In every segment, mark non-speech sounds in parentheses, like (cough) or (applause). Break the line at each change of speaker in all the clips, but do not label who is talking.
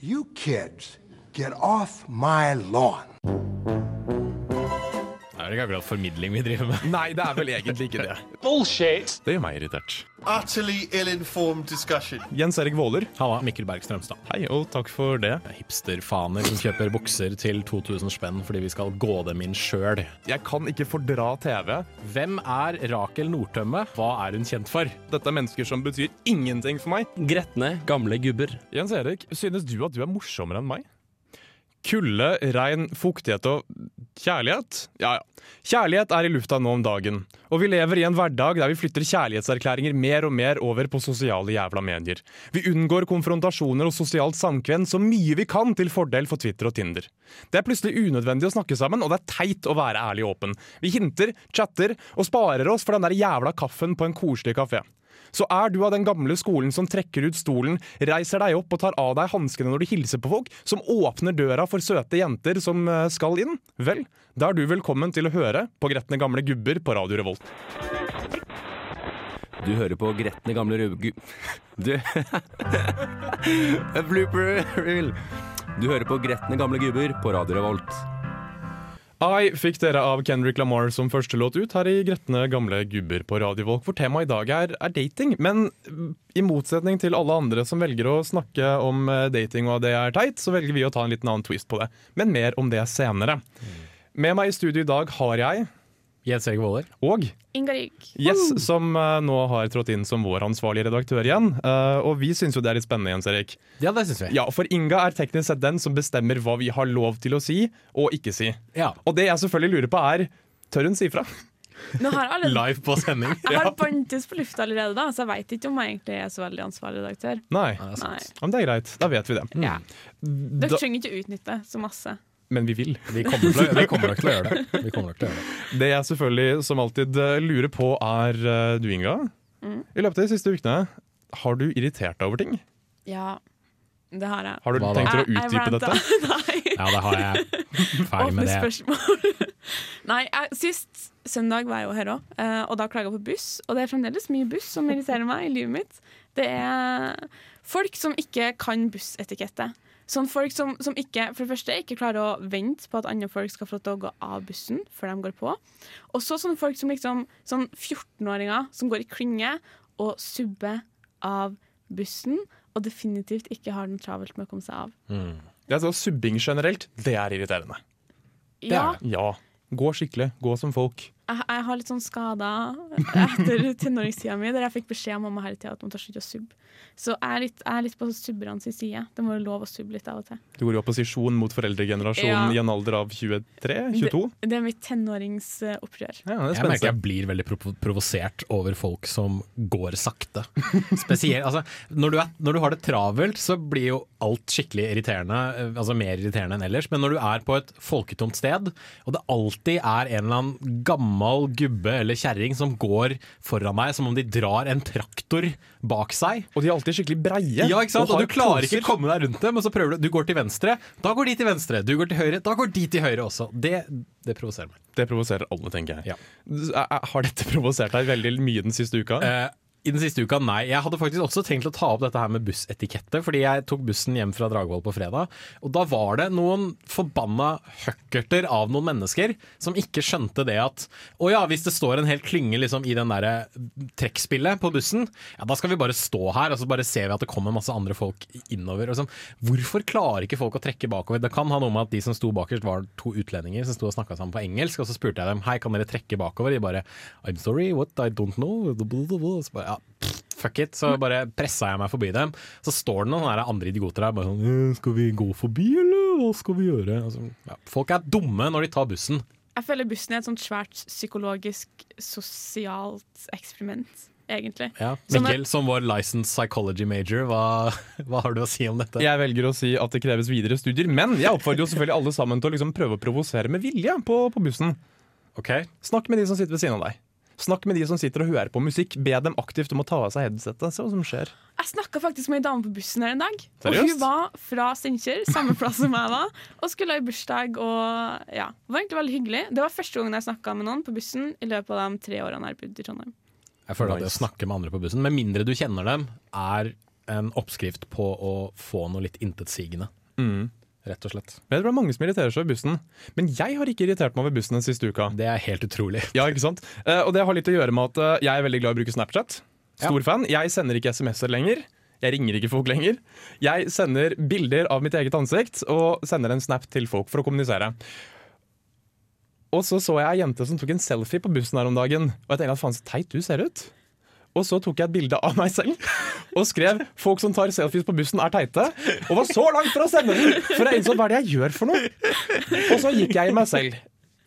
You kids, get off my lawn.
Det er ikke akkurat formidling vi driver med.
Nei, det er vel egentlig ikke det.
Bullshit.
Det gjør meg irritert.
Utterly ill informed discussion.
Jens Erik Våler,
Halla, Mikkel Berg Strømstad.
hei og takk for det.
Hipsterfaner som kjøper bukser til 2000 spenn fordi vi skal gå dem inn sjøl.
Jeg kan ikke fordra TV.
Hvem er Rakel Nordtømme? Hva er hun kjent for?
Dette er mennesker som betyr ingenting for meg.
Gretne, gamle gubber.
Jens Erik, synes du at du er morsommere enn meg? Kulde, regn, fuktighet og kjærlighet? Ja ja. Kjærlighet er i lufta nå om dagen, og vi lever i en hverdag der vi flytter kjærlighetserklæringer mer og mer over på sosiale jævla medier. Vi unngår konfrontasjoner og sosialt samkvem så mye vi kan til fordel for Twitter og Tinder. Det er plutselig unødvendig å snakke sammen, og det er teit å være ærlig og åpen. Vi hinter, chatter og sparer oss for den der jævla kaffen på en koselig kafé. Så er du av den gamle skolen som trekker ut stolen, reiser deg opp og tar av deg hanskene når du hilser på folk, som åpner døra for søte jenter som eh, skal inn? Vel, da er du velkommen til å høre på Gretne gamle gubber på Radio Revolt.
Du hører på gretne gamle rubgu... Du (laughs) A Blooper reel. Du hører på gretne gamle gubber på Radio Revolt.
I fikk dere av Kendrick Lamar som første låt ut her i Gretne gamle gubber på Radio Revolt, hvor temaet i dag er, er dating. Men mm, i motsetning til alle andre som velger å snakke om eh, dating og at det er teit, så velger vi å ta en liten annen twist på det. Men mer om det senere. Med meg i studio i dag har jeg
Jens Erik Våler.
og
Ingarik.
Yes, som eh, nå har trådt inn som vår ansvarlige redaktør igjen. Eh, og vi syns jo det er litt spennende, Jens Erik.
Ja, det syns vi.
Ja, For Inga er teknisk sett den som bestemmer hva vi har lov til å si og ikke si.
Ja.
Og det jeg selvfølgelig lurer på, er tør hun si fra?
Nå har alle
Live på (laughs) sending.
Jeg har Bantus på lufta allerede, da, så jeg veit ikke om jeg egentlig er så veldig ansvarlig redaktør.
Nei.
Ja, det er sant.
Nei.
Ja, altså. Men det er greit. Da vet vi det.
Dere
Da,
trenger ikke utnytte det så masse.
men vi vil.
Vi kommer til å- vi kommer nok til å gjøre det. Vi kommer nok til å gjøre det.
Det jeg selvfølgelig som alltid eh, lurer på, er eh, du, Inga. I løpet av de siste ukene, har du irritert deg over ting?
Ja, det har jeg.
Har du
Hva da?
tenkt å
Jeg- jeg
utdype
rantet.
dette?
(laughs) Nei.
Ja, det har jeg. Ferdig
Åpne
med det.
spørsmål. (laughs) Nei, jeg, sist søndag var jeg jo her òg, og da klaga jeg på buss. Og det er fremdeles mye buss som irriterer meg i livet mitt. Det er folk som ikke kan bussetikette. Sånn folk som, som ikke, for det første ikke klarer å vente på at andre folk skal få lov til å gå av bussen før de går på. Og så sånne folk som liksom sånn 14-åringer som går i klynge og subber av bussen, og definitivt ikke har den travelt med å komme seg av.
Jeg sa subbing generelt. Det er irriterende.
er
Ja,
det.
Ja. Gå skikkelig. Gå som folk.
jeg, jeg har litt sånn skader etter tenåringstida mi, der jeg fikk beskjed av mamma hele tida at man tar slutt å subbe. Så jeg er litt, jeg er litt på subberne sin side. Det må jo lov å subbe litt av og til.
Du går i opposisjon mot foreldregenerasjonen
Ja.
i en alder av 23-22.
Det, det er mitt tenåringsopprør.
Ja, det er
Jeg merker jeg
spennende.
blir veldig provo- provosert over folk som går sakte. (laughs) Spesielt, altså, når, du er, når du har det travelt, så blir jo alt skikkelig irriterende. eh, Altså mer irriterende enn ellers. Men når du er på et folketomt sted, og det alltid er en eller annen gammel gubbe eller kjerring som går foran meg som om de drar en traktor bak seg,
Og de er alltid skikkelig breie.
ja, ikke sant? Og,
har
du klarer ikke
poser.
å komme deg rundt det, men så prøver du. Du går til venstre, da går de til venstre. Du går til høyre, da går de til høyre også. Det, det provoserer meg.
Det provoserer alle, tenker
Ja.
jeg. Er- er- Har dette (laughs) provosert deg veldig mye den siste uka?
Eh, I den siste uka, nei. Jeg hadde faktisk også tenkt å ta opp dette her med bussetikette, fordi jeg tok bussen hjem fra Dragvoll på fredag, og da var det noen forbanna høkkerter av noen mennesker som ikke skjønte det at å ja, hvis det står en hel klynge liksom i den derre trekkspillet på bussen, ja da skal vi bare stå her, og så bare ser vi at det kommer masse andre folk innover. Og sånn. Hvorfor klarer ikke folk å trekke bakover? Det kan ha noe med at de som sto bakerst var to utlendinger som sto og snakka sammen på engelsk, og så spurte jeg dem hei, kan dere trekke bakover? De bare I'm sorry, what, I don't know. Og Så bare, ja, pff, fuck it. Så bare pressa jeg meg forbi dem. Så står det noen sånne her andre idioter der bare sånn «Eh, Skal vi gå forbi, eller hva skal vi gjøre? Og så, ja. Folk er dumme når de tar bussen.
Jeg føler bussen er et sånt svært psykologisk, sosialt eksperiment, egentlig.
Ja.
Sånn at-
Mikkel, som vår licensed psychology major, hva, (laughs) hva har du å si om dette?
Jeg velger å si at det kreves videre studier, men jeg oppfordrer jo selvfølgelig alle sammen til å liksom prøve å provosere med vilje på, på bussen.
Ok.
Snakk med de som sitter ved siden av deg. Snakk med de som sitter og hører på musikk. Be dem aktivt om å ta av seg headsetet. Se hva som skjer.
Jeg snakka faktisk med ei dame på bussen her en dag. Og
Seriøst?
hun var fra Steinkjer, samme plass som jeg var, og skulle i bursdag. Og ja, Det var egentlig veldig hyggelig. Det var første gangen jeg snakka med noen på bussen i løpet av de tre årene jeg har bodd i Trondheim.
Jeg føler at det å
Nice.
snakke med andre på bussen, med mindre du kjenner dem, er en oppskrift på å få noe litt intetsigende. Rett og slett.
Men det er mange som irriterer seg over bussen. Men jeg har ikke irritert meg over bussen den siste uka.
Det er helt utrolig. (laughs)
(laughs) Ja, ikke sant? Eh, og det har litt å gjøre med at eh, jeg er veldig glad i å bruke Snapchat. Stor fan. Jeg sender ikke SMS-er lenger. Jeg ringer ikke folk lenger. Jeg sender bilder av mitt eget ansikt og sender en snap til folk for å kommunisere. Og så så jeg ei jente som tok en selfie på bussen her om dagen. Og jeg tenkte at faen så teit du ser ut. Og så tok jeg et bilde av meg selv og skrev 'folk som tar selfies på bussen, er teite'. Og var så langt fra å sende den! For jeg innså hva er det jeg gjør for noe? Og så gikk jeg i meg selv.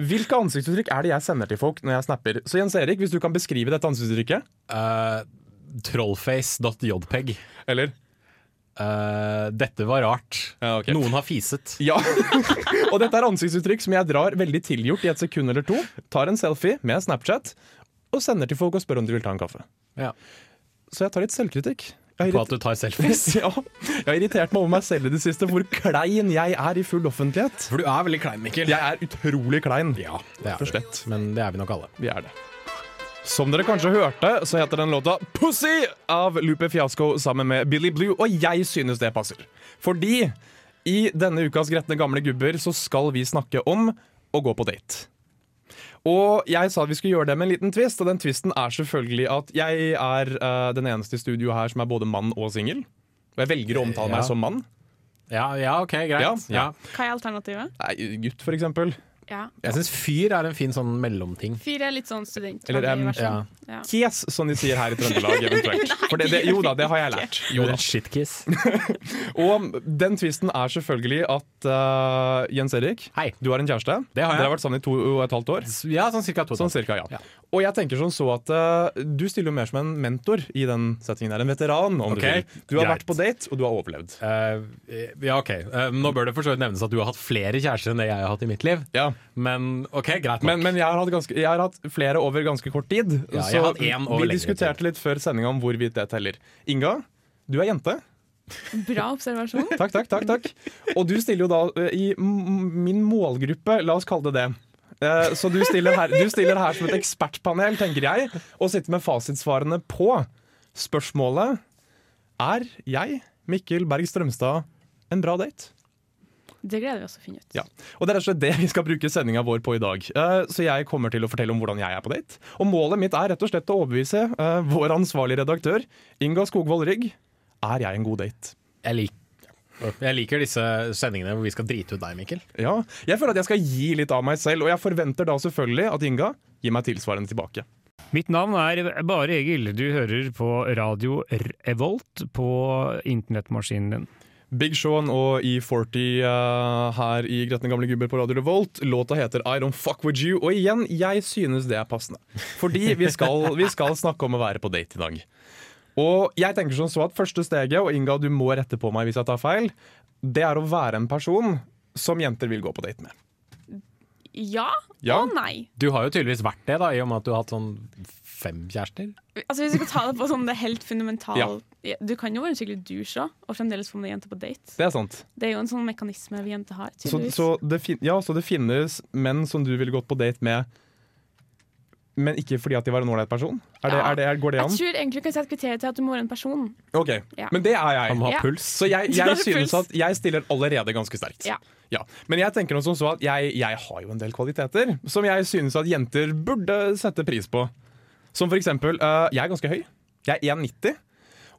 Hvilke ansiktsuttrykk er det jeg sender til folk når jeg snapper? Så Jens Erik, hvis du kan beskrive dette ansiktsuttrykket
Eh, Trollface.jpg.
Eller?
Eh, dette var rart.
Ja, ok.
Noen har fiset.
Ja. (laughs) og dette er ansiktsuttrykk som jeg drar veldig tilgjort i et sekund eller to. Tar en selfie med Snapchat og sender til folk og spør om de vil ta en kaffe.
Ja.
Så jeg tar litt selvkritikk. Jeg
På at du tar selfies.
(laughs) ja, jeg har irritert meg over meg selv i det siste, hvor klein jeg er i full offentlighet.
For du er veldig klein, Mikkel.
Jeg er utrolig klein.
Ja, det er
Rett og
du.
slett.
Men det er vi nok alle.
Vi er det. Som dere kanskje hørte, så heter den låta 'Pussy' av Lupe Fiasco sammen med Billy Blue, og jeg synes det passer. Fordi i denne ukas Gretne gamle gubber så skal vi snakke om å gå på date. Og jeg sa at vi skulle gjøre det med en liten twist, og den twisten er selvfølgelig at jeg er eh, den eneste i studio her som er både mann og singel. Og jeg velger å omtale
Ja.
meg som mann.
Ja, ja OK,
Ja,
greit. Ja.
ja.
Hva er alternativet?
Nei, gutt, for eksempel.
Ja.
Jeg syns fyr er en fin sånn mellomting.
Fyr er litt sånn student.
Eller, em,
Ja.
ja.
Kies, som de sier her i Trøndelag, eventuelt. For det, det, jo da, det har jeg lært. Jo da.
Shitkiss.
Og den tvisten er selvfølgelig at eh, Jens Erik,
Hei.
du har en kjæreste.
Det har jeg.
Dere har vært sammen i to og et halvt år.
(laughs) Ja, sånn cirka to.
Sånn cirka, ja. Og jeg tenker sånn så at eh, du stiller jo mer som en mentor i den settingen her. En veteran, om
Ok,
du vil. Du har
greit.
vært på date, og du har overlevd.
Eh, ja, ok. Eh, nå bør det for så vidt nevnes at du har hatt flere kjærester enn det jeg har hatt i mitt liv.
Ja.
Men ok, greit nok.
Men, men jeg, har hatt ganske, jeg har hatt flere over ganske kort tid.
Ja, jeg
så
har hatt én over
vi
lengre
diskuterte litt før sendinga om hvorvidt det teller. Inga, du er jente.
Bra observasjon.
(laughs) Takk, takk, takk, takk. Og du stiller jo da eh, i m- min målgruppe, la oss kalle det det. Eh, Så du stiller, her, du stiller her som et ekspertpanel, tenker jeg, og sitter med fasitsvarene på spørsmålet Er jeg, Mikkel Berg Strømstad, en bra date?
Det gleder vi oss å finne ut.
Ja. Og det er rett og slett det vi skal bruke sendinga vår på i dag. Eh, Så jeg kommer til å fortelle om hvordan jeg er på date. Og målet mitt er rett og slett å overbevise eh, vår ansvarlige redaktør, Inga Skogvold Rygg, er jeg en god date?
Jeg, lik, jeg liker disse sendingene hvor vi skal drite ut deg, Mikkel.
Ja, Jeg føler at jeg skal gi litt av meg selv, og jeg forventer da selvfølgelig at Inga gir meg tilsvarende tilbake.
Mitt navn er Bare Egil. Du hører på radio Revolt på internettmaskinen din.
Big Sean og E40 eh, her i Gretne gamle gubber på Radio Revolt. Låta heter I Don't Fuck With You, og igjen, jeg synes det er passende. Fordi vi skal, vi skal snakke om å være på date i dag. Og jeg tenker som så at første steget, og Inga, du må rette på meg hvis jeg tar feil, det er å være en person som jenter vil gå på date med.
Ja
Ja.
og nei.
Du har jo tydeligvis vært det, da, i og med at du har hatt sånn fem kjærester.
Altså Hvis vi skal ta det på sånn det helt fundamentale
Ja.
Ja, Du kan jo være en skikkelig douche også, og fremdeles få med deg jente på date.
Det er sant.
Det er jo en sånn mekanisme vi jenter har.
Så,
tydeligvis
så, det fin ja, så det finnes menn som du ville gått på date med, men ikke fordi at de var en ålreit person? Er det,
Ja.
er det, er, går det
Jeg
an?
tror egentlig du kan sette kriterier til at du må være en person.
Ok,
Ja.
Men det er jeg.
Han må ha
Ja.
puls.
Så jeg,
Da er
jeg
det
synes
puls.
at jeg stiller allerede ganske sterkt.
Ja.
Men jeg tenker noe som så at jeg, jeg har jo en del kvaliteter som jeg synes at jenter burde sette pris på. Som for eksempel eh, Jeg er ganske høy. Jeg er 1,90.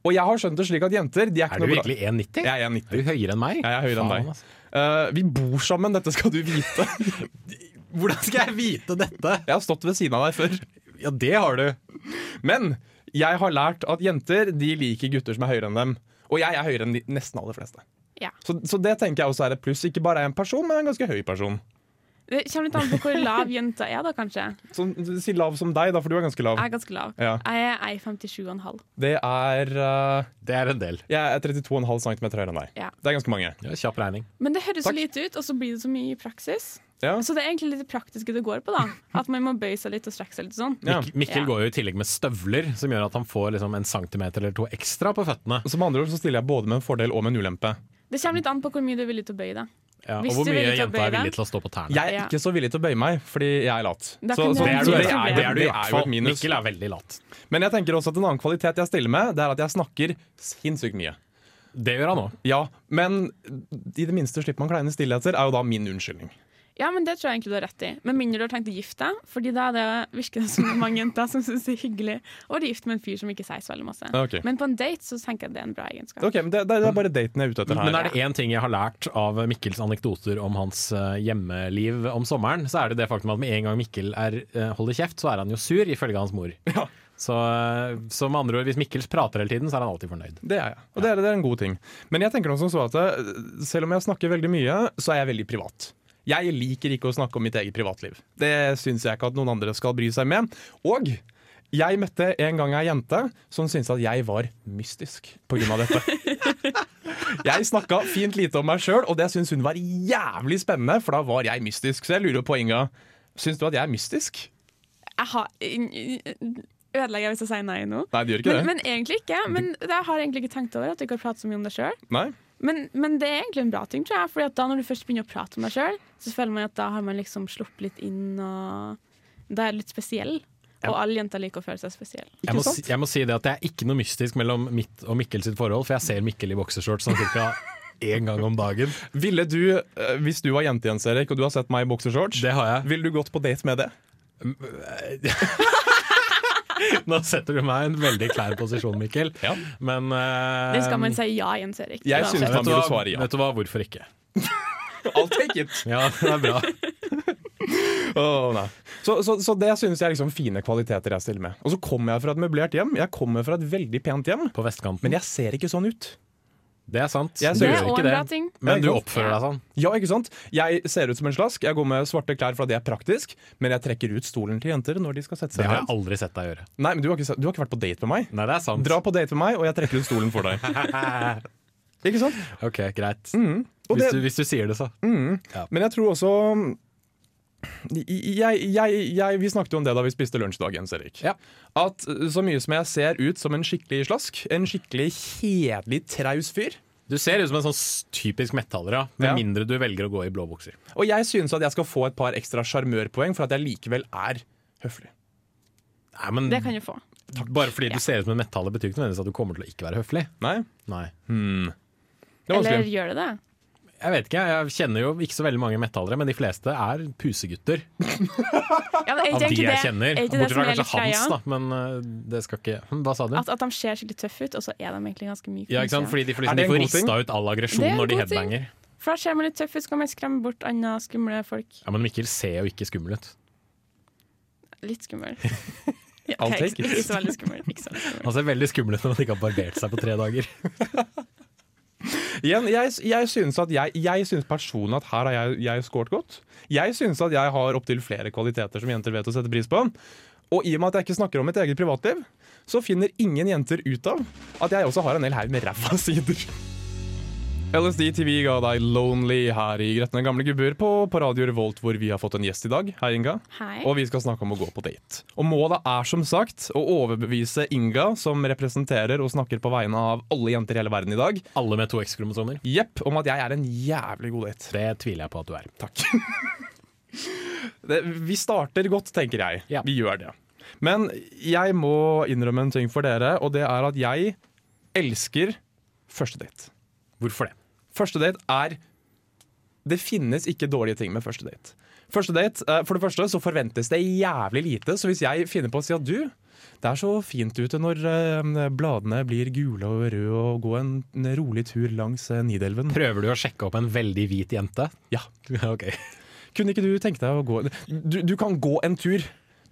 Og jeg har skjønt det slik at jenter de er ikke
Er du
noe
virkelig 1,90?
Jeg er 1,90.
Er du høyere enn meg?
Jeg er høyere enn
Faen,
deg.
altså.
Eh, vi bor sammen, dette skal du vite. (laughs)
Hvordan skal jeg vite dette?
Jeg har stått ved siden av deg før.
Ja, det har du.
Men jeg har lært at jenter de liker gutter som er høyere enn dem. Og jeg er høyere enn de nesten aller fleste.
Ja.
Så, så det tenker jeg også er et pluss. Ikke bare er jeg en person, men jeg er en ganske høy person.
Det kommer litt an på hvor lav jenta er, da kanskje.
Så, si lav som deg, da, for du er ganske lav.
Jeg er ganske lav.
Ja.
Jeg er 1,57,5.
Det er eh,
Det er en del.
Jeg er 32,5 cm høyere enn deg.
Ja.
Det er ganske mange.
Ja, kjapp regning.
Men det høres
Takk.
så lite ut, og så blir det så mye i praksis.
Ja.
Så det er egentlig litt det praktiske det går på,
(laughs)
da. At man må bøye seg litt og strekke seg litt sånn.
Ja.
Mik Mikkel
Ja.
går jo i tillegg med støvler, som gjør at han får liksom en centimeter eller to ekstra på føttene.
Så med andre ord så stiller jeg både med en fordel og med en ulempe.
Det kommer litt an på hvor mye du er villig til å bøye deg.
Ja, og
Hvis
hvor
du
mye
ville til å
jenta er
bøye deg.
villig til å stå på tærne.
Jeg er
Ja.
ikke så villig til å bøye meg, fordi jeg er lat.
Da
Så,
kan
så
det er du,
Det
det
er
er,
jo-
det er du i
jo
hvert fall.
et minus.
Mikkel er veldig lat.
Men jeg tenker også at en annen kvalitet jeg stiller med, Det er at jeg snakker sinnssykt mye.
Det gjør han òg.
Ja, Men i det minste slipper man kleine stillheter, er jo da min unnskyldning.
Ja, men Det tror jeg egentlig du har rett i. Med mindre du har tenkt å gifte deg. Fordi da er det virker det som det er mange jenter som syns det er hyggelig å være gift med en fyr som ikke sier så veldig masse.
Ok.
Men på en date så tenker jeg det er en bra egenskap.
Ok, men Det, det er bare daten jeg er ute etter her.
Men er det én ting jeg har lært av Mikkels anekdoter om hans eh, hjemmeliv om sommeren, så er det det faktum at med en gang Mikkel er, eh, holder kjeft, så er han jo sur, ifølge hans
(laughs)
mor. Så, eh, så med andre ord, hvis Mikkels prater hele tiden, så er han alltid fornøyd.
Det er jeg, og det er, det er en god ting. Men jeg tenker noe som så at eh, selv om jeg snakker veldig mye, så er jeg veldig privat. Jeg liker ikke å snakke om mitt eget privatliv. Det syns jeg ikke at noen andre skal bry seg med. Og jeg møtte en gang ei jente som syntes at jeg var mystisk pga.
(laughs)
dette. Jeg snakka fint lite om meg sjøl, og det syntes hun var jævlig spennende, for da var jeg mystisk. Så jeg lurer på, Inga, syns du at jeg er mystisk?
Jeg har, ødelegger jeg hvis jeg sier nei nå?
Nei, det gjør ikke
Men,
det.
men egentlig ikke. Men jeg har egentlig ikke tenkt over at du ikke har pratet så mye om deg sjøl.
Nei?
Men, men det er egentlig en bra ting, tror jeg. Fordi at da når du først begynner å prate om deg sjøl, så føler man at da har man liksom sluppet litt inn, og da er du litt spesiell. Og alle jenter liker å føle seg spesiell.
Jeg må,
sant?
si, jeg må si det at det er ikke noe mystisk mellom mitt og Mikkel sitt forhold, for jeg ser Mikkel i boksershorts sånn cirka
(laughs)
én gang om dagen.
Ville du, eh, hvis du var jente Jens Erik, og du har sett meg i boksershorts,
Det har jeg.
Ville du gått på date med det?
Nå setter du meg i en veldig klar posisjon, Mikkel.
Ja.
Men eh,
Det skal man si ja, Jens Erik.
Jeg
uansett.
synes
vet,
Han
du
burde
hva,
svare ja.
vet du hva, hvorfor ikke?
I'll take it! (laughs)
Ja, det er bra.
Åh, nei. Så, så, så det synes jeg er liksom fine kvaliteter jeg stiller med. Og så kommer jeg fra et møblert hjem. Jeg kommer fra et veldig pent hjem.
På vestkanten.
Men jeg ser ikke sånn ut.
det er sant.
Jeg
Du
Det
ser
gjør
er
ikke
òg en
det.
bra ting.
Men du oppfører deg sånn.
Ja, ikke sant? Jeg ser ut som en slask. Jeg går med svarte klær fordi det er praktisk, men jeg trekker ut stolen til jenter når de skal sette
Det
seg
har jeg
ned.
aldri sett deg gjøre.
Nei, men du har, ikke, du har ikke vært på date med meg.
Nei, det er sant.
Dra på date med meg, og jeg trekker ut stolen
(laughs)
for deg. Ikke sant?
ok, greit.
Mm. Og
Hvis,
det- Mm.
du, hvis du sier det, så.
Men jeg tror også um, jeg, jeg, jeg, Vi snakket jo om det da vi spiste lunsj i dag, Jens Erik.
Ja.
At uh, så mye som jeg ser ut som en skikkelig slask, en skikkelig kjedelig traus fyr
Du ser ut som en sånn s- typisk metaller, ja. Med
Ja.
mindre du velger å gå i blå bukser.
Og jeg synes at jeg skal få et par ekstra sjarmørpoeng for at jeg likevel er høflig.
Nei, men
Det kan du få.
Bare fordi du ser ut som en metaller, betyr ikke nødvendigvis at du kommer til å ikke være høflig.
Nei,
Nei.
det er
Eller
vanskelig.
gjør det det?
Jeg vet ikke, jeg kjenner jo ikke så veldig mange metallere, men de fleste er pusegutter.
Ja, men er
Av
ikke
de
egentlig
jeg
det-
kjenner.
er ikke det
Bortsett
som
fra kanskje
er litt
Hans,
greia?
da. Men eh, det skal ikke Hm, Hva sa du?
At, at de ser skikkelig tøffe ut, og så er de egentlig ganske myke.
Ja, ikke sant? Fordi de får,
Er
liksom,
det
de får
en god ting?
rista ut all
Det
aggresjon
er en
når de
god ting.
headbanger.
For da ser man litt tøff ut, så kan man skremme bort andre skumle folk.
Ja, Men Mikkel ser jo ikke skummel ut. (laughs)
Litt skummel. Ja,
I'll
ok,
take
ikke,
it.
ikke så veldig skummel. Ikke så veldig skummel.
Han ser Altså, veldig skummel ut når han ikke har barbert seg på tre dager.
Igjen, jeg, jeg synes at jeg, jeg synes personlig at her har jeg, jeg scoret godt. Jeg synes at jeg har opptil flere kvaliteter som jenter vet å sette pris på. Og i og med at jeg ikke snakker om mitt eget privatliv, så finner ingen jenter ut av at jeg også har en hel haug med ræva sider. LSD TV ga deg Lonely her i Gretne gamle gubber på, på Radio Revolt, hvor vi har fått en gjest i dag. Hei, Inga.
Hei.
Og vi skal snakke om å gå på date. Og målet er som sagt å overbevise Inga, som representerer og snakker på vegne av alle jenter i hele verden i dag,
Alle med to X-kromosomer.
Jepp, om at jeg er en jævlig god date.
Det tviler jeg på at du er.
Takk. det, vi starter godt, tenker jeg.
Ja.
Vi gjør det. Men jeg må innrømme en ting for dere, og det er at jeg elsker første date.
Hvorfor det?
Første date er Det finnes ikke dårlige ting med første date. Første date, eh, For det første så forventes det jævlig lite, så hvis jeg finner på å si at du det er så fint ute når eh, bladene blir gule og røde, og gå en, en rolig tur langs eh, Nidelven.
Prøver du å sjekke opp en veldig hvit jente?
Ja, (laughs)
ok.
Kunne ikke du tenke deg å gå Du, du kan gå en tur.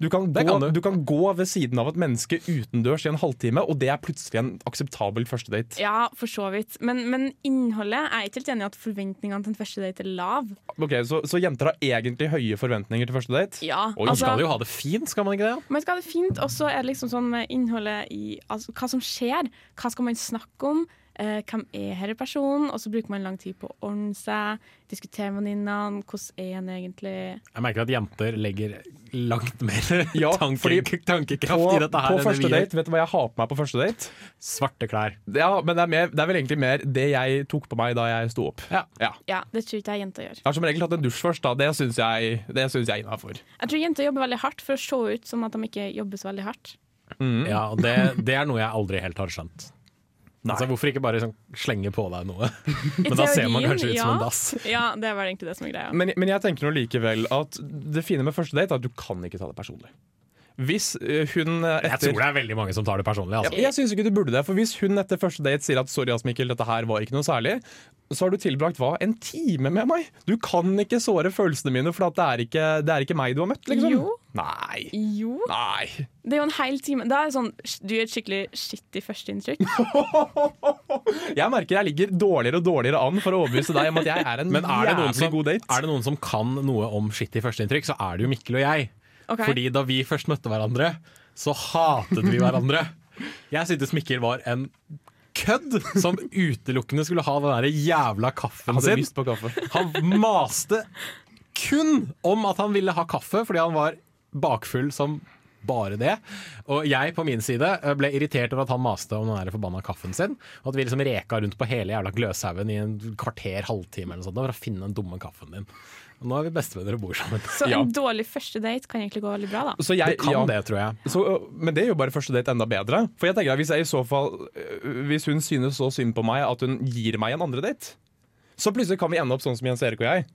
Du kan, gå,
Det kan
du.
du.
kan gå ved siden av et menneske utendørs i en halvtime, og det er plutselig en akseptabel førstedate.
Ja, for så vidt. Men, men innholdet Jeg er ikke helt enig i at forventningene til en første date er lav.
Ok, så, så jenter har egentlig høye forventninger til første date?
Ja,
Og man
altså-
skal jo ha det fint, skal man ikke det?
Man skal ha det fint, og så er det liksom sånn med innholdet i altså, hva som skjer. Hva skal man snakke om? Eh, eh, hvem er denne personen, og så bruker man lang tid på å ordne seg, diskutere med venninnene, hvordan er han egentlig?
Jeg merker at jenter legger langt mer
(laughs) Ja,
tanke,
fordi
tankekraft
På,
i dette her
på
enn det
første
vi gjør.
date, vet du hva jeg har på meg på første date?
Svarte klær.
Ja, men det er, mer, det er vel egentlig mer det jeg tok på meg da jeg sto opp.
Ja.
Ja, det tror ikke jeg jenter gjør.
Jeg har som regel tatt en dusj først, da. Det syns jeg, det synes jeg er innafor.
Jeg tror jenter jobber veldig hardt for å se ut som at de ikke jobber så veldig hardt.
Mm.
Ja, og det, det er noe jeg aldri helt har skjønt. Altså, hvorfor ikke bare sånn, slenge på deg
(laughs)
noe? Men da ser man
teorien,
kanskje ut som
ja.
en dass.
(laughs) Ja, det er vel egentlig det som er greia.
Men, men jeg tenker nå likevel at det fine med første date er at du kan ikke ta det personlig. Hvis eh, hun eh,
Jeg
etter
tror det er veldig mange som tar det personlig.
Ja,
Altså.
Jeg syns ikke du burde det, for hvis hun etter første date sier at 'sorry, ass, Mikkel, dette her var ikke noe særlig', så har du tilbrakt hva, en time med meg? Du kan ikke såre følelsene mine, for at det, er ikke, det er ikke meg du har møtt, liksom.
Jo.
Nei.
Jo,
Nei.
det er jo en hel time. Da er det sånn, Du gjør et skikkelig skittig førsteinntrykk.
Jeg merker jeg ligger dårligere og dårligere an for å overbevise deg om at jeg er en
Men er det, noen
jævlig
som,
god date.
er det noen som kan noe om skitt i førsteinntrykk, så er det jo Mikkel og jeg.
Ok.
Fordi da vi først møtte hverandre, så hatet vi hverandre. Jeg syntes Mikkel var en kødd som utelukkende skulle ha den der jævla kaffen
Han ser
sin.
lyst på kaffe.
Han maste kun om at han ville ha kaffe, fordi han var bakfull som bare det. Og jeg på min side ble irritert over at han maste om den der forbanna kaffen sin. Og at vi liksom reka rundt på hele jævla Gløshaugen i en kvarter, halvtime eller noe sånt for å finne den dumme kaffen din. Og nå er vi bestevenner og bor sammen.
Så
Ja.
en dårlig første date kan egentlig gå veldig bra, da.
Så
Det
jeg,
kan
ja.
det, tror jeg.
Så, øh, men det gjør bare første date enda bedre. For jeg tenker at Hvis jeg i så fall øh, Hvis hun synes så synd på meg at hun gir meg en andre date, så plutselig kan vi ende opp sånn som Jens Erik og jeg.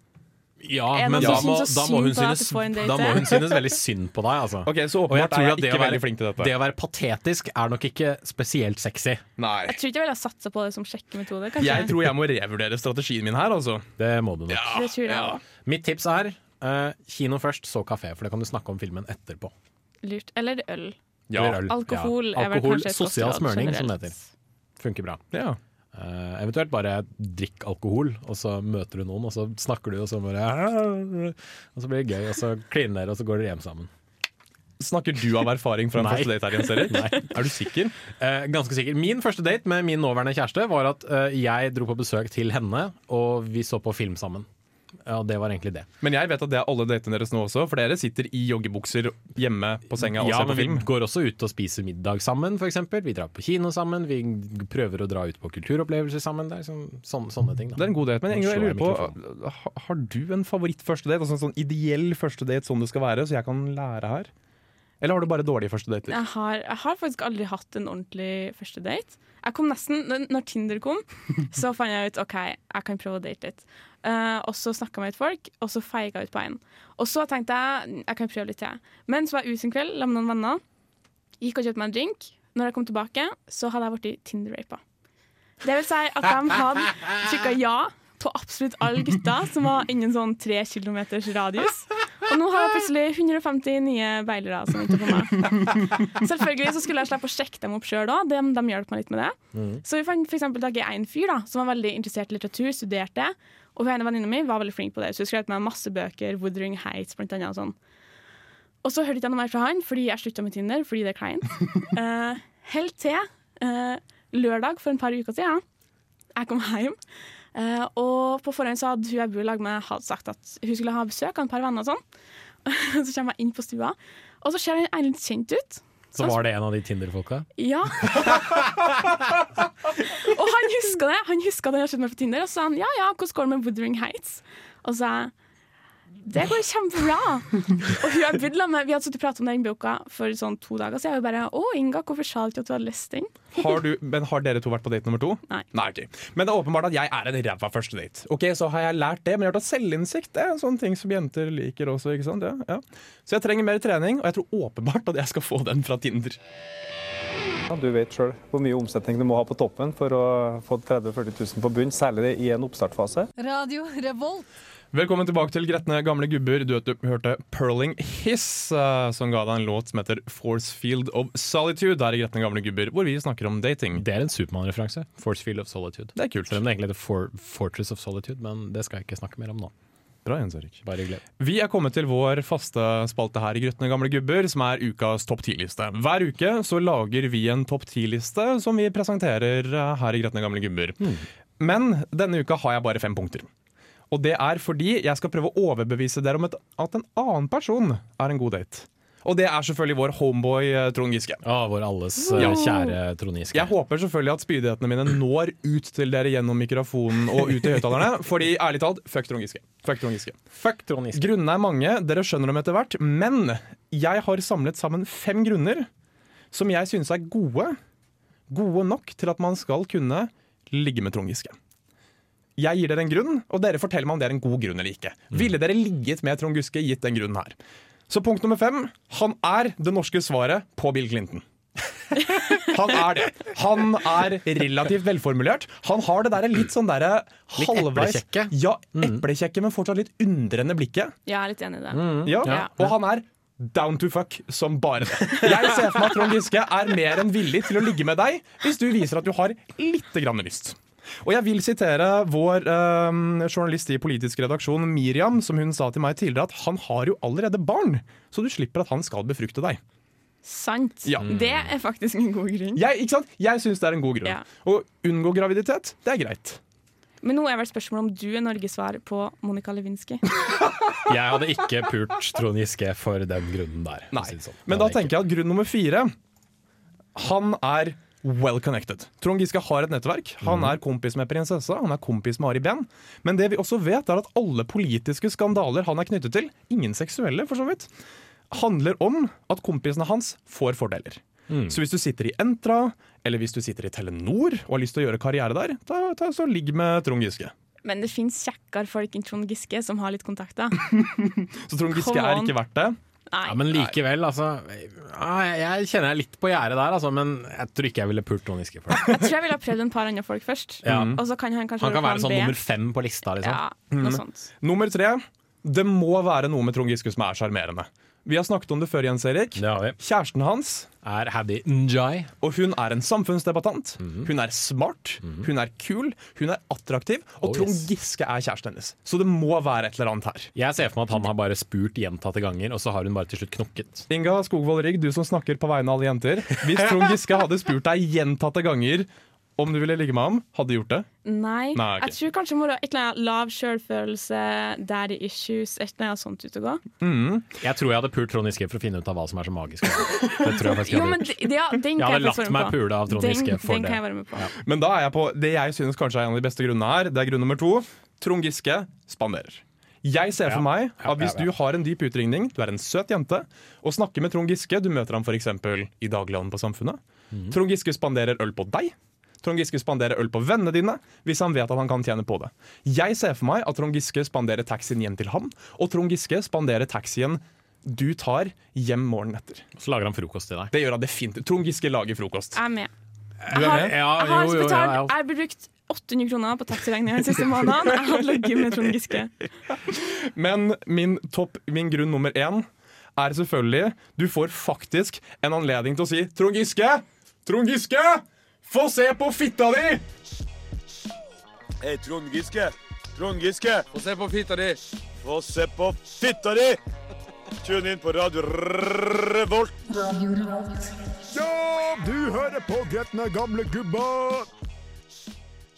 Ja,
Er det
men
noen
da
som
må,
synes så
da, må
synd
hun
på deg at
synes,
du får en date?
da må hun synes veldig synd på deg, altså.
Ok, Så
Og jeg
åpenbart
tror at det
er jeg
å
ikke
være-
veldig flink til dette.
Det å være patetisk er nok ikke spesielt sexy.
Nei.
Jeg tror ikke jeg ville ha satsa på det som sjekkemetode. kanskje.
Jeg tror jeg må revurdere strategien min her, altså.
Det må du nok.
det tror jeg også.
Mitt tips er eh, kino først, så kafé. For det kan du snakke om filmen etterpå.
Lurt. Eller øl.
Eller øl.
Alkohol
Ja.
er vel
Alkohol,
kanskje et godt
Sosial
råd
smørning, som det
generelt.
heter. Funker bra.
Ja.
Eh, eventuelt bare drikk alkohol, og så møter du noen, og så snakker du, og så bare Og så blir det gøy, og så kliner dere, og så går dere hjem sammen.
Snakker du av erfaring fra en
Nei.
første date her, Jens Erik? Er du sikker?
Eh, ganske sikker. Min første date med min nåværende kjæreste var at eh, jeg dro på besøk til henne, og vi så på film sammen. Ja, og det var egentlig det.
Men jeg vet at det er alle datene deres nå også, for dere sitter i joggebukser hjemme på senga og
Ja,
ser
men
på film.
Vi går også ut og spiser middag sammen, f.eks. Vi drar på kino sammen. Vi prøver å dra ut på kulturopplevelser sammen. Det er liksom sånne, sånne ting. Da.
Det er en god date, men jeg,
Nå
jeg
slår jeg
lurer på ha- Har du en favoritt første date? Altså en sånn ideell første date som det skal være, så jeg kan lære her? Eller har du bare dårlige første dater?
Jeg har, jeg har faktisk aldri hatt en ordentlig første date. Jeg kom nesten, n- når Tinder kom, så fant jeg ut OK, jeg kan prøve å date litt. Eh, og så snakka jeg med et folk, og så feiga jeg ut på en. Og så tenkte jeg jeg kan prøve litt til. Men så var jeg ute en kveld la med noen venner. Gikk og kjøpte meg en drink. Når jeg kom tilbake, så hadde jeg blitt Tinder-rapa. Det vil si at de hadde trykka ja på absolutt alle gutta som var innen sånn tre kilometers radius. Og nå har jeg plutselig 150 nye beilere som venter på meg. Selvfølgelig så skulle jeg slippe å sjekke dem opp sjøl òg. De, de hjalp meg litt med det. Så vi fant for eksempel tak i en fyr da, som var veldig interessert i litteratur, studerte. Og hun ene venninna mi var veldig flink på det. Så hun skrev meg masse bøker, Woodring Heights blant annet. Og sånn. Og så hørte jeg ikke noe mer fra han, fordi jeg slutta med Tinder, fordi det er kleint. Eh, helt til eh, lørdag for en par uker siden. Jeg kom hjem, eh, og på forhånd så hadde hun jeg bor i lag med, hadde sagt at hun skulle ha besøk av et par venner og sånn. (laughs) Så kommer jeg inn på stua, og så ser han en litt kjent ut.
Så var det en av de Tinder-folka.
Ja. (laughs) og han huska det. Han huska at han hadde sett meg på Tinder, og så sa han ja, ja, hvordan går det med Woodring Heights? Og så sa jeg det går kjempebra. og hun jeg bodde med, vi hadde sittet og pratet om den boka for sånn to dager siden, og jeg bare å, Inga, hvorfor sa du ikke at du hadde lest den?
Har du, men har dere to vært på date nummer to?
Nei.
ok. Men det er åpenbart at jeg er en ræva første date. Ok, Så har jeg lært det, men jeg har tatt selvinnsikt. Det er en sånn ting som jenter liker også. ikke sant? Ja, ja. Så jeg trenger mer trening, og jeg tror åpenbart at jeg skal få den fra Tinder.
Ja, Du vet sjøl hvor mye omsetning du må ha på toppen for å få 30 000-40 000 på bunn, særlig i en oppstartfase.
Radio Revolt.
Velkommen tilbake til Gretne gamle gubber. Du hørte- hørte Perling Hiss, eh, som ga deg en låt som heter Force Field of Solitude her i Gretne gamle gubber, hvor vi snakker om dating.
Det er en Supermann-referanse. Force Field of Solitude.
Det er kult.
Selv om det egentlig heter For Fortress of Solitude, men det skal jeg ikke snakke mer om nå.
Bra, Jens Erik.
Bare hyggelig.
Vi er kommet til vår faste spalte her i Grøtne gamle gubber, som er ukas topp ti-liste. Hver uke så lager vi en topp ti-liste som vi presenterer eh, her i Grøtne gamle gubber.
Hmm.
Men denne uka har jeg bare fem punkter. Og det er fordi jeg skal prøve å overbevise dere om et, at en annen person er en god date. Og det er selvfølgelig vår homeboy eh, Trond Giske.
Å, vår alles eh, kjære Trond Giske.
Jeg håper selvfølgelig at spydighetene mine når ut til dere gjennom mikrofonen og ut til høyttalerne. Fordi ærlig talt, fuck Trond Giske. Fuck Trond Giske.
Fuck Trond Giske.
Grunnene er mange, dere skjønner dem etter hvert. Men jeg har samlet sammen fem grunner som jeg synes er gode. Gode nok til at man skal kunne ligge med Trond Giske. Jeg gir dere en grunn, og dere forteller meg om det er en god grunn eller ikke.
Mm.
Ville dere ligget med Trond Giske gitt den grunnen her? Så punkt nummer fem. Han er det norske svaret på Bill Clinton. Han er det. Han er relativt velformulert. Han har det derre litt sånn derre
Litt
halvveis
eplekjekke. Mm.
Ja, eplekjekke, men fortsatt litt undrende blikket.
Jeg er litt enig i det.
Mm.
Ja.
Ja.
Og han er down to fuck som bare det. Jeg ser for meg at Trond Giske er mer enn villig til å ligge med deg hvis du viser at du har litt grann lyst. Og jeg vil sitere vår eh, journalist i politisk redaksjon, Miriam, som hun sa til meg tidligere at han har jo allerede barn, så du slipper at han skal befrukte deg.
Sant.
Ja.
Det er faktisk en god grunn.
Jeg, ikke sant? Jeg syns det er en god grunn.
Ja.
Å unngå graviditet, det er greit.
Men nå er vel spørsmålet om du er Norges svar på Monica Lewinsky.
Jeg hadde ikke pult Trond Giske for den grunnen der.
Nei. Men da tenker jeg at grunn nummer fire Han er well connected. Trond Giske har et nettverk. Han er kompis med prinsessa, han er kompis med Ari Behn. Men det vi også vet, er at alle politiske skandaler han er knyttet til, ingen seksuelle for så vidt, handler om at kompisene hans får fordeler. Så hvis du sitter i Entra, eller hvis du sitter i Telenor og har lyst til å gjøre karriere der, da, da så ligg med Trond Giske.
Men det fins kjekkere folk enn Trond Giske som har litt kontakter.
Så Trond Giske
Come
er
on.
ikke verdt det.
Nei.
Ja, men likevel, altså. ja, Jeg jeg kjenner jeg er litt på gjerdet der, altså, men jeg tror ikke jeg ville pult Trond Giske for
(laughs)
det.
Jeg tror jeg ville ha prøvd en par andre folk først.
Ja.
Og så kan han kanskje
Han kan
være
være sånn
B.
nummer fem på lista, liksom.
Ja, noe sånt.
Nummer tre. Det må være noe med Trond Giske som er sjarmerende. Vi har snakket om det før, Jens Erik.
Det har vi.
Kjæresten hans,
Er Haddy Njai.
og hun er en samfunnsdebattant. Hun er smart, hun er kul, hun er attraktiv,
Oh,
og Trond
yes.
Giske er kjæresten hennes. Så det må være et eller annet her.
Jeg ser for meg at han har bare spurt gjentatte ganger, og så har hun bare til slutt knokket.
Inga Skogvold Rigg, du som snakker på vegne av alle jenter. Hvis Trond Giske hadde spurt deg gjentatte ganger om du ville ligge med ham, hadde du gjort det?
Nei.
Nei, ok.
Jeg tror kanskje må du ha et eller annet lav sjølfølelse, daddy issues, et eller annet sånt ute og gå.
Jeg tror jeg hadde pult Trond Giske for å finne ut av hva som er så magisk. Det tror jeg faktisk jeg
Jo, men
hadde gjort.
det, ja, den
(laughs) Jeg
kan
hadde
jeg
latt
faktisk være
meg
med på.
pule av Trond
Den,
Giske for
den kan jeg
det.
være med på.
Men da er jeg på det jeg synes kanskje er en av de beste grunnene her. Det er grunn nummer to. Trond Giske spanderer. Jeg ser for
Ja.
meg at hvis
ja, ja.
du har en dyp utringning, du er en søt jente, og snakker med Trond Giske Du møter ham f.eks. i dagligdagen på Samfunnet.
Mhm.
Trond Giske spanderer øl på deg. Trond Giske spanderer øl på vennene dine hvis han vet at han kan tjene på det. Jeg ser for meg at Trond Giske spanderer taxien hjem til ham, og Trond Giske spanderer taxien du tar hjem morgenen etter.
Så lager han frokost til deg.
Det gjør han definitivt. Trond Giske lager frokost.
Jeg er med.
Du er med? Ja,
Jeg har
jo, jo, ja,
betalt,
ja.
jeg har brukt 800 kroner på taxiregninga den siste måneden. Jeg har ligget med Trond Giske.
Men min, topp, min grunn nummer én er selvfølgelig Du får faktisk en anledning til å si Trond Giske! Trond Giske! Få se på fitta di!
Hei, Trond Giske. Trond Giske,
Få se på fitta di!
få se på fitta di! Tune inn på Radio Revolt.
Ja, du hører på Gretne gamle gubba!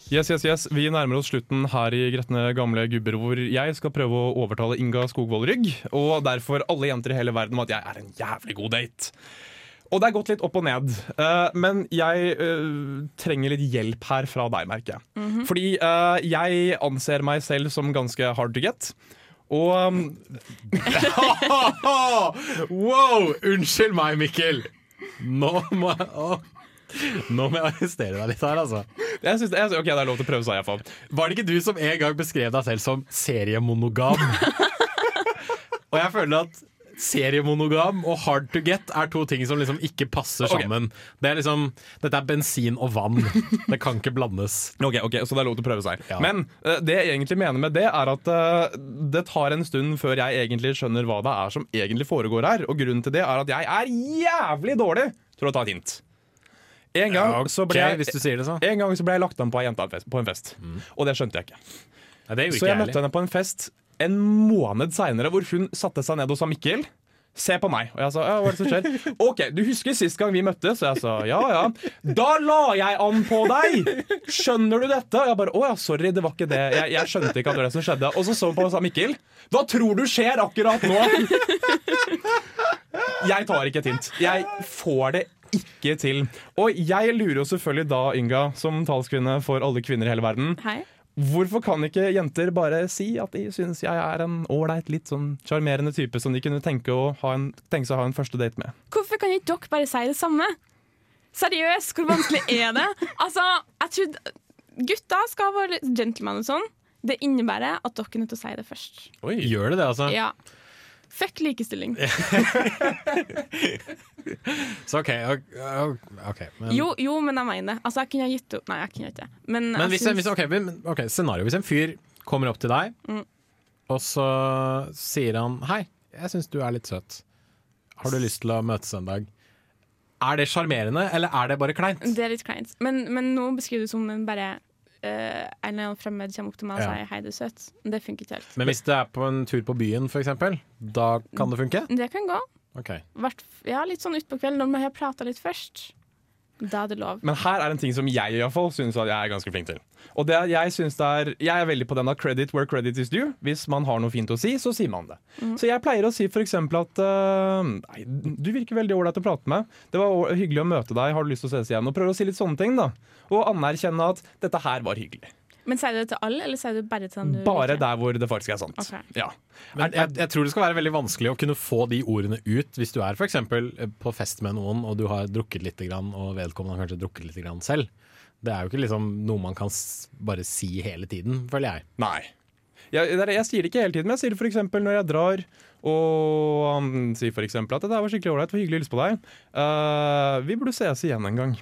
Yes, yes, yes. Vi nærmer oss slutten her i Gretne gamle gubber, hvor jeg skal prøve å overtale Inga Skogvold Rygg, og derfor alle jenter i hele verden, om at jeg er en jævlig god date. Og det er gått litt opp og ned, eh, men jeg eh, trenger litt hjelp her fra deg, merker jeg. Fordi eh, jeg anser meg selv som ganske hard to get. Og um,
Wow! Unnskyld meg, Mikkel. Nå må jeg å. Nå må jeg arrestere deg litt her, altså.
jeg synes, jeg, OK, det er lov til å prøve seg, iallfall.
Var det ikke du som en gang beskrev deg selv som
(laughs)
seriemonogam? og jeg føler at seriemonogam og hard to get er to ting som liksom ikke passer
Ok.
sammen. Det er liksom, dette er bensin og vann. Det kan ikke blandes.
Ok, ok, Så det er lov til å prøve seg.
Ja.
Men eh, det jeg egentlig mener med det, er at eh, det tar en stund før jeg egentlig skjønner hva det er som egentlig foregår her. Og grunnen til det er at jeg er jævlig dårlig til å ta et hint. En gang, så, ble
Ok, Mm.
jeg,
hvis du sier det sånn. så.
en gang så ble jeg lagt an på ei jente på en fest, og det skjønte jeg ikke.
Nei, det gjorde
Så
ikke
jeg
jeg
møtte
heller.
henne på en fest en måned seinere, hvor hun satte seg ned hos han Mikkel. Se på meg. Og jeg sa ja, hva er det som
(laughs)
skjer? Ok, du husker sist gang vi møttes? Og jeg sa ja, ja. Da la jeg an på deg! Skjønner du dette? Og jeg bare å ja, sorry, det var ikke det. Jeg, jeg skjønte ikke at det var det som skjedde. Og så så hun på meg og sa Mikkel, hva tror du skjer akkurat nå? (laughs) Jeg tar ikke et hint. Jeg får det ikke til. Og jeg lurer jo selvfølgelig da, Inga, som talskvinne for alle kvinner i hele verden.
Hei.
Hvorfor kan ikke jenter bare si at de syns jeg er en ålreit, litt sånn sjarmerende type som de kunne tenke, å ha en, tenke seg å ha en første date med?
Hvorfor kan ikke dere bare si det samme? Seriøst, hvor vanskelig er det? Altså, jeg trodde Gutter skal være litt gentleman og sånn. Det innebærer at dere er nødt til å si det først.
Gjør det det, altså?
Ja. (laughs) Fuck likestilling.
Så OK. ok, ok, men,
Jo, jo, men jeg mener det. Altså, jeg kunne ha gitt opp Nei, jeg kunne ikke det. Men,
men
jeg
hvis,
syns-
hvis, ok, men- ok, scenario. Hvis en fyr kommer opp til deg,
Mm.
og så sier han 'hei, jeg syns du er litt søt'. Har du lyst til å møtes en dag? Er det sjarmerende, eller er det bare kleint?
Det er litt kleint. Men, men nå beskriver du det som en bare eh, en eller annen fremmed kommer opp til meg og
Ja.
sier 'hei, du er søt'. Det funker ikke helt.
Men hvis det er på en tur på byen, f.eks., da kan det funke?
Det kan gå.
Ok.
Hvert, ja, litt sånn utpå kvelden, når man har prata litt først. Da er det lov.
Men her er en ting som jeg i hvert fall synes at jeg er ganske flink til. Og det, er- jeg, synes det er, jeg er veldig på den at credit where credit is due. Hvis man har noe fint å si, så sier man det. Så jeg pleier å si f.eks. at eh, nei, du virker veldig ålreit å prate med. Det var å- hyggelig å møte deg. Har du lyst til å ses igjen? Og prøver å si litt sånne ting, da. Og anerkjenne at dette her var hyggelig.
Men sier du det til alle, eller sier du bare til den du
Bare
liker?
der hvor det faktisk er sant.
Ok.
Ja.
Men jeg, jeg tror det skal være veldig vanskelig å kunne få de ordene ut hvis du er f.eks. på fest med noen og du har drukket litt, grann, og vedkommende har kanskje drukket litt grann selv. Det er jo ikke liksom noe man kan s- bare si hele tiden, føler jeg.
Nei. Jeg, det er- jeg sier det ikke hele tiden, men jeg sier det for eksempel når jeg drar og um, sier for eksempel at det der var skikkelig ålreit, var hyggelig å hilse på deg. Eh, vi burde ses igjen en gang.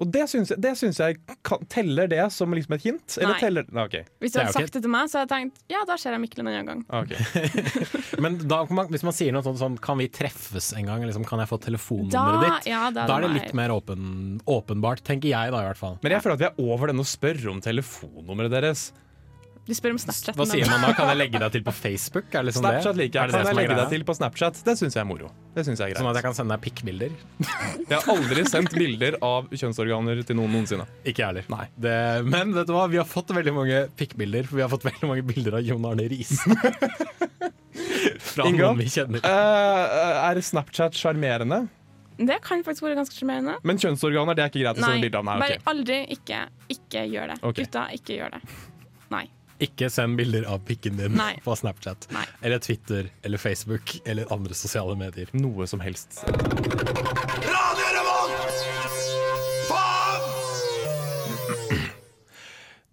Og det syns jeg, det syns jeg kan, teller det som liksom et hint? Eller
Nei.
teller Nei, OK.
Hvis
Det
du
er jo
hadde
ikke-
sagt det til meg, så hadde jeg tenkt ja, da ser jeg Mikkel en annen gang.
ok.
Men da, kan man- hvis man sier noe sånt som 'kan vi treffes en gang', liksom, 'kan jeg få telefonnummeret
Da,
ditt',
ja, da,
da er det
meg.
litt mer åpen, åpenbart, tenker jeg da i hvert fall.
Men jeg føler at vi er over den å spørre om telefonnummeret deres.
Du spør om Snapchat.
Hva sier man da? Kan jeg legge deg til på Facebook? Er det liksom det?
Snapchat liker
Er det det
jeg. Kan jeg
som er
legge
greia?
deg til på Snapchat? Det syns jeg er moro. Det synes jeg er
Sånn at
greit.
jeg kan sende deg pikkbilder?
Jeg har aldri sendt bilder av kjønnsorganer til noen noensinne.
(laughs) Ikke jeg heller.
Nei.
Det, men vet du hva, vi har fått veldig mange pikkbilder, for vi har fått veldig mange bilder av Jon Arne
(laughs)
Riise. Fra
Inga?
noen vi kjenner.
Eh, er Snapchat sjarmerende?
Det kan faktisk være ganske sjarmerende.
Men kjønnsorganer det er ikke greit å sende bilde av? Nei,
bare
ok.
aldri ikke, ikke gjør det.
Ok.
Gutta, ikke gjør det. Nei.
Ikke send bilder av pikken din
Nei.
på Snapchat
Nei.
eller Twitter eller Facebook eller andre sosiale medier.
Noe som helst.
Radio Revolt! Faen!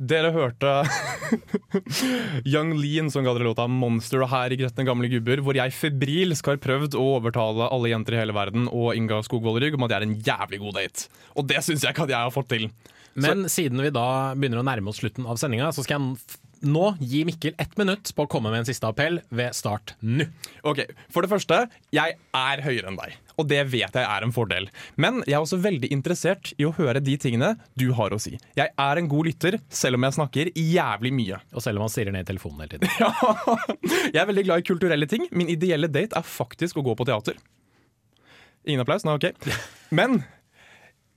Dere hørte (laughs) Young Lean som ga dere låta 'Monster' og her i Gretne gamle gubber, hvor jeg febrilsk har prøvd å overtale alle jenter i hele verden og Inga Skogvold Rygg om at jeg er en jævlig god date. Og det syns jeg ikke at jeg har fått til.
Men siden vi da begynner å nærme oss slutten av sendinga, så skal jeg f- nå gi Mikkel ett minutt på å komme med en siste appell ved start nå.
Ok, For det første, jeg er høyere enn deg. Og det vet jeg er en fordel. Men jeg er også veldig interessert i å høre de tingene du har å si. Jeg er en god lytter, selv om jeg snakker jævlig mye.
Og selv om han stirrer ned i telefonen hele (laughs) tiden.
(laughs) Ja. Jeg er veldig glad i kulturelle ting. Min ideelle date er faktisk å gå på teater. Ingen applaus? Nei, ok. Men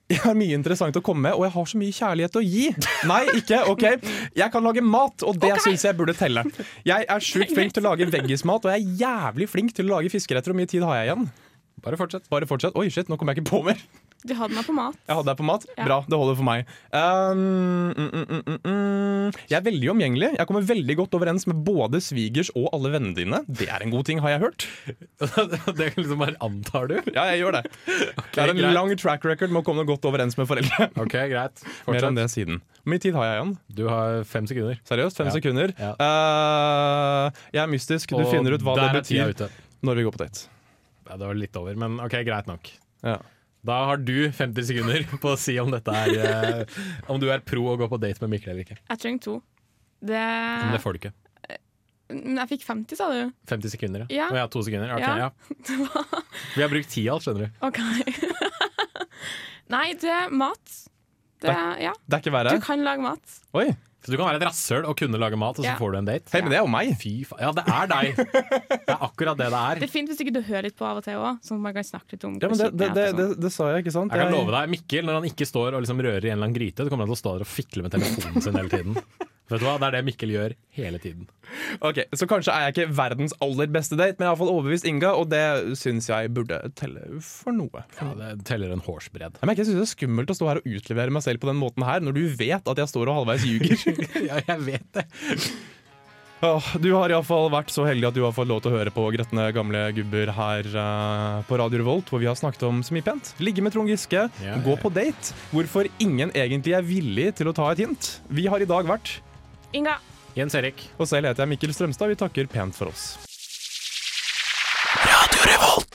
jeg har mye interessant å komme med, og jeg har så mye kjærlighet å gi. Nei, ikke? Ok. Jeg kan lage mat, og det synes syns jeg burde telle. Jeg er sjukt flink til å lage veggismat, og jeg er jævlig flink til å lage fiskeretter. Hvor mye tid har jeg igjen? Bare fortsett. Bare fortsett. Oi, shit, nå kom jeg ikke på mer.
Du hadde meg på mat.
Jeg hadde deg på mat.
Ja.
Bra, det holder for meg. Um, mm, mm, mm, mm, mm. Jeg er veldig omgjengelig. Jeg kommer veldig godt overens med både svigers og alle vennene dine. Det er en god ting, har jeg hørt.
det liksom bare antar du.
Ja, jeg
(laughs)
gjør det. Jeg har en
greit.
lang track record med å komme godt overens med foreldre.
Ok, greit.
Mer enn
Fortsett.
det siden. Hvor mye tid har jeg igjen?
Du har fem sekunder.
Seriøst, fem
Ja.
sekunder.
Ja.
Uh, jeg er mystisk. Du
Og
finner ut hva det
der er tida
betyr
ute.
når vi går på date.
Ja, det var litt over, men ok, greit nok.
Ja.
Da har du 50 sekunder (laughs) på å si om dette er eh, Om du er pro å gå på date med Mikkel eller ikke.
Jeg trenger to. Det
Men det får du ikke.
Men jeg fikk 50, sa du.
50 sekunder, ja.
Ja.
Å ja, to sekunder. Ok,
Ja.
ja. Vi har brukt ti alt, skjønner du.
OK. (laughs) Nei, det er mat. Det er, ja.
Det er ikke
Du
verre.
kan lage mat.
Oi.
Du kan være et rasshøl og kunne lage mat, og så
Ja.
får du en date.
Hei, men det er jo meg.
Fy faen. Ja, det er deg. Det er akkurat det det er.
Det er fint hvis ikke du hører litt på av og til òg, sånn at man kan snakke litt om
Ja, men det,
hvor kjipt
det, det,
er og
det,
sånn.
det sa jeg, ikke sant?
Jeg kan love deg, Mikkel, når han ikke står og liksom rører i en eller annen gryte, så kommer han til å stå der og fikle med telefonen sin hele tiden. Vet du hva? Det er det Mikkel gjør hele tiden.
Ok, Så kanskje er jeg ikke verdens aller beste date, men jeg har iallfall overbevist Inga, og det syns jeg burde telle for noe.
Ja, det teller en hårsbredd.
Jeg merker jeg synes det er skummelt å stå her og utlevere meg selv på den måten her, når du vet at jeg står og halvveis ljuger.
Ja, jeg vet det.
(laughs) Åh, du har iallfall vært så heldig at du har fått lov til å høre på gretne gamle gubber her eh, på Radio Revolt, hvor vi har snakket om så mye pent. Ligge med Trond Giske,
Ja.
gå på date. Hvorfor ingen egentlig er villig til å ta et hint. Vi har i dag vært
sånn. Inga,
Jens Erik.
Og selv heter jeg Mikkel Strømstad. Vi takker pent for oss. Radio Revolt.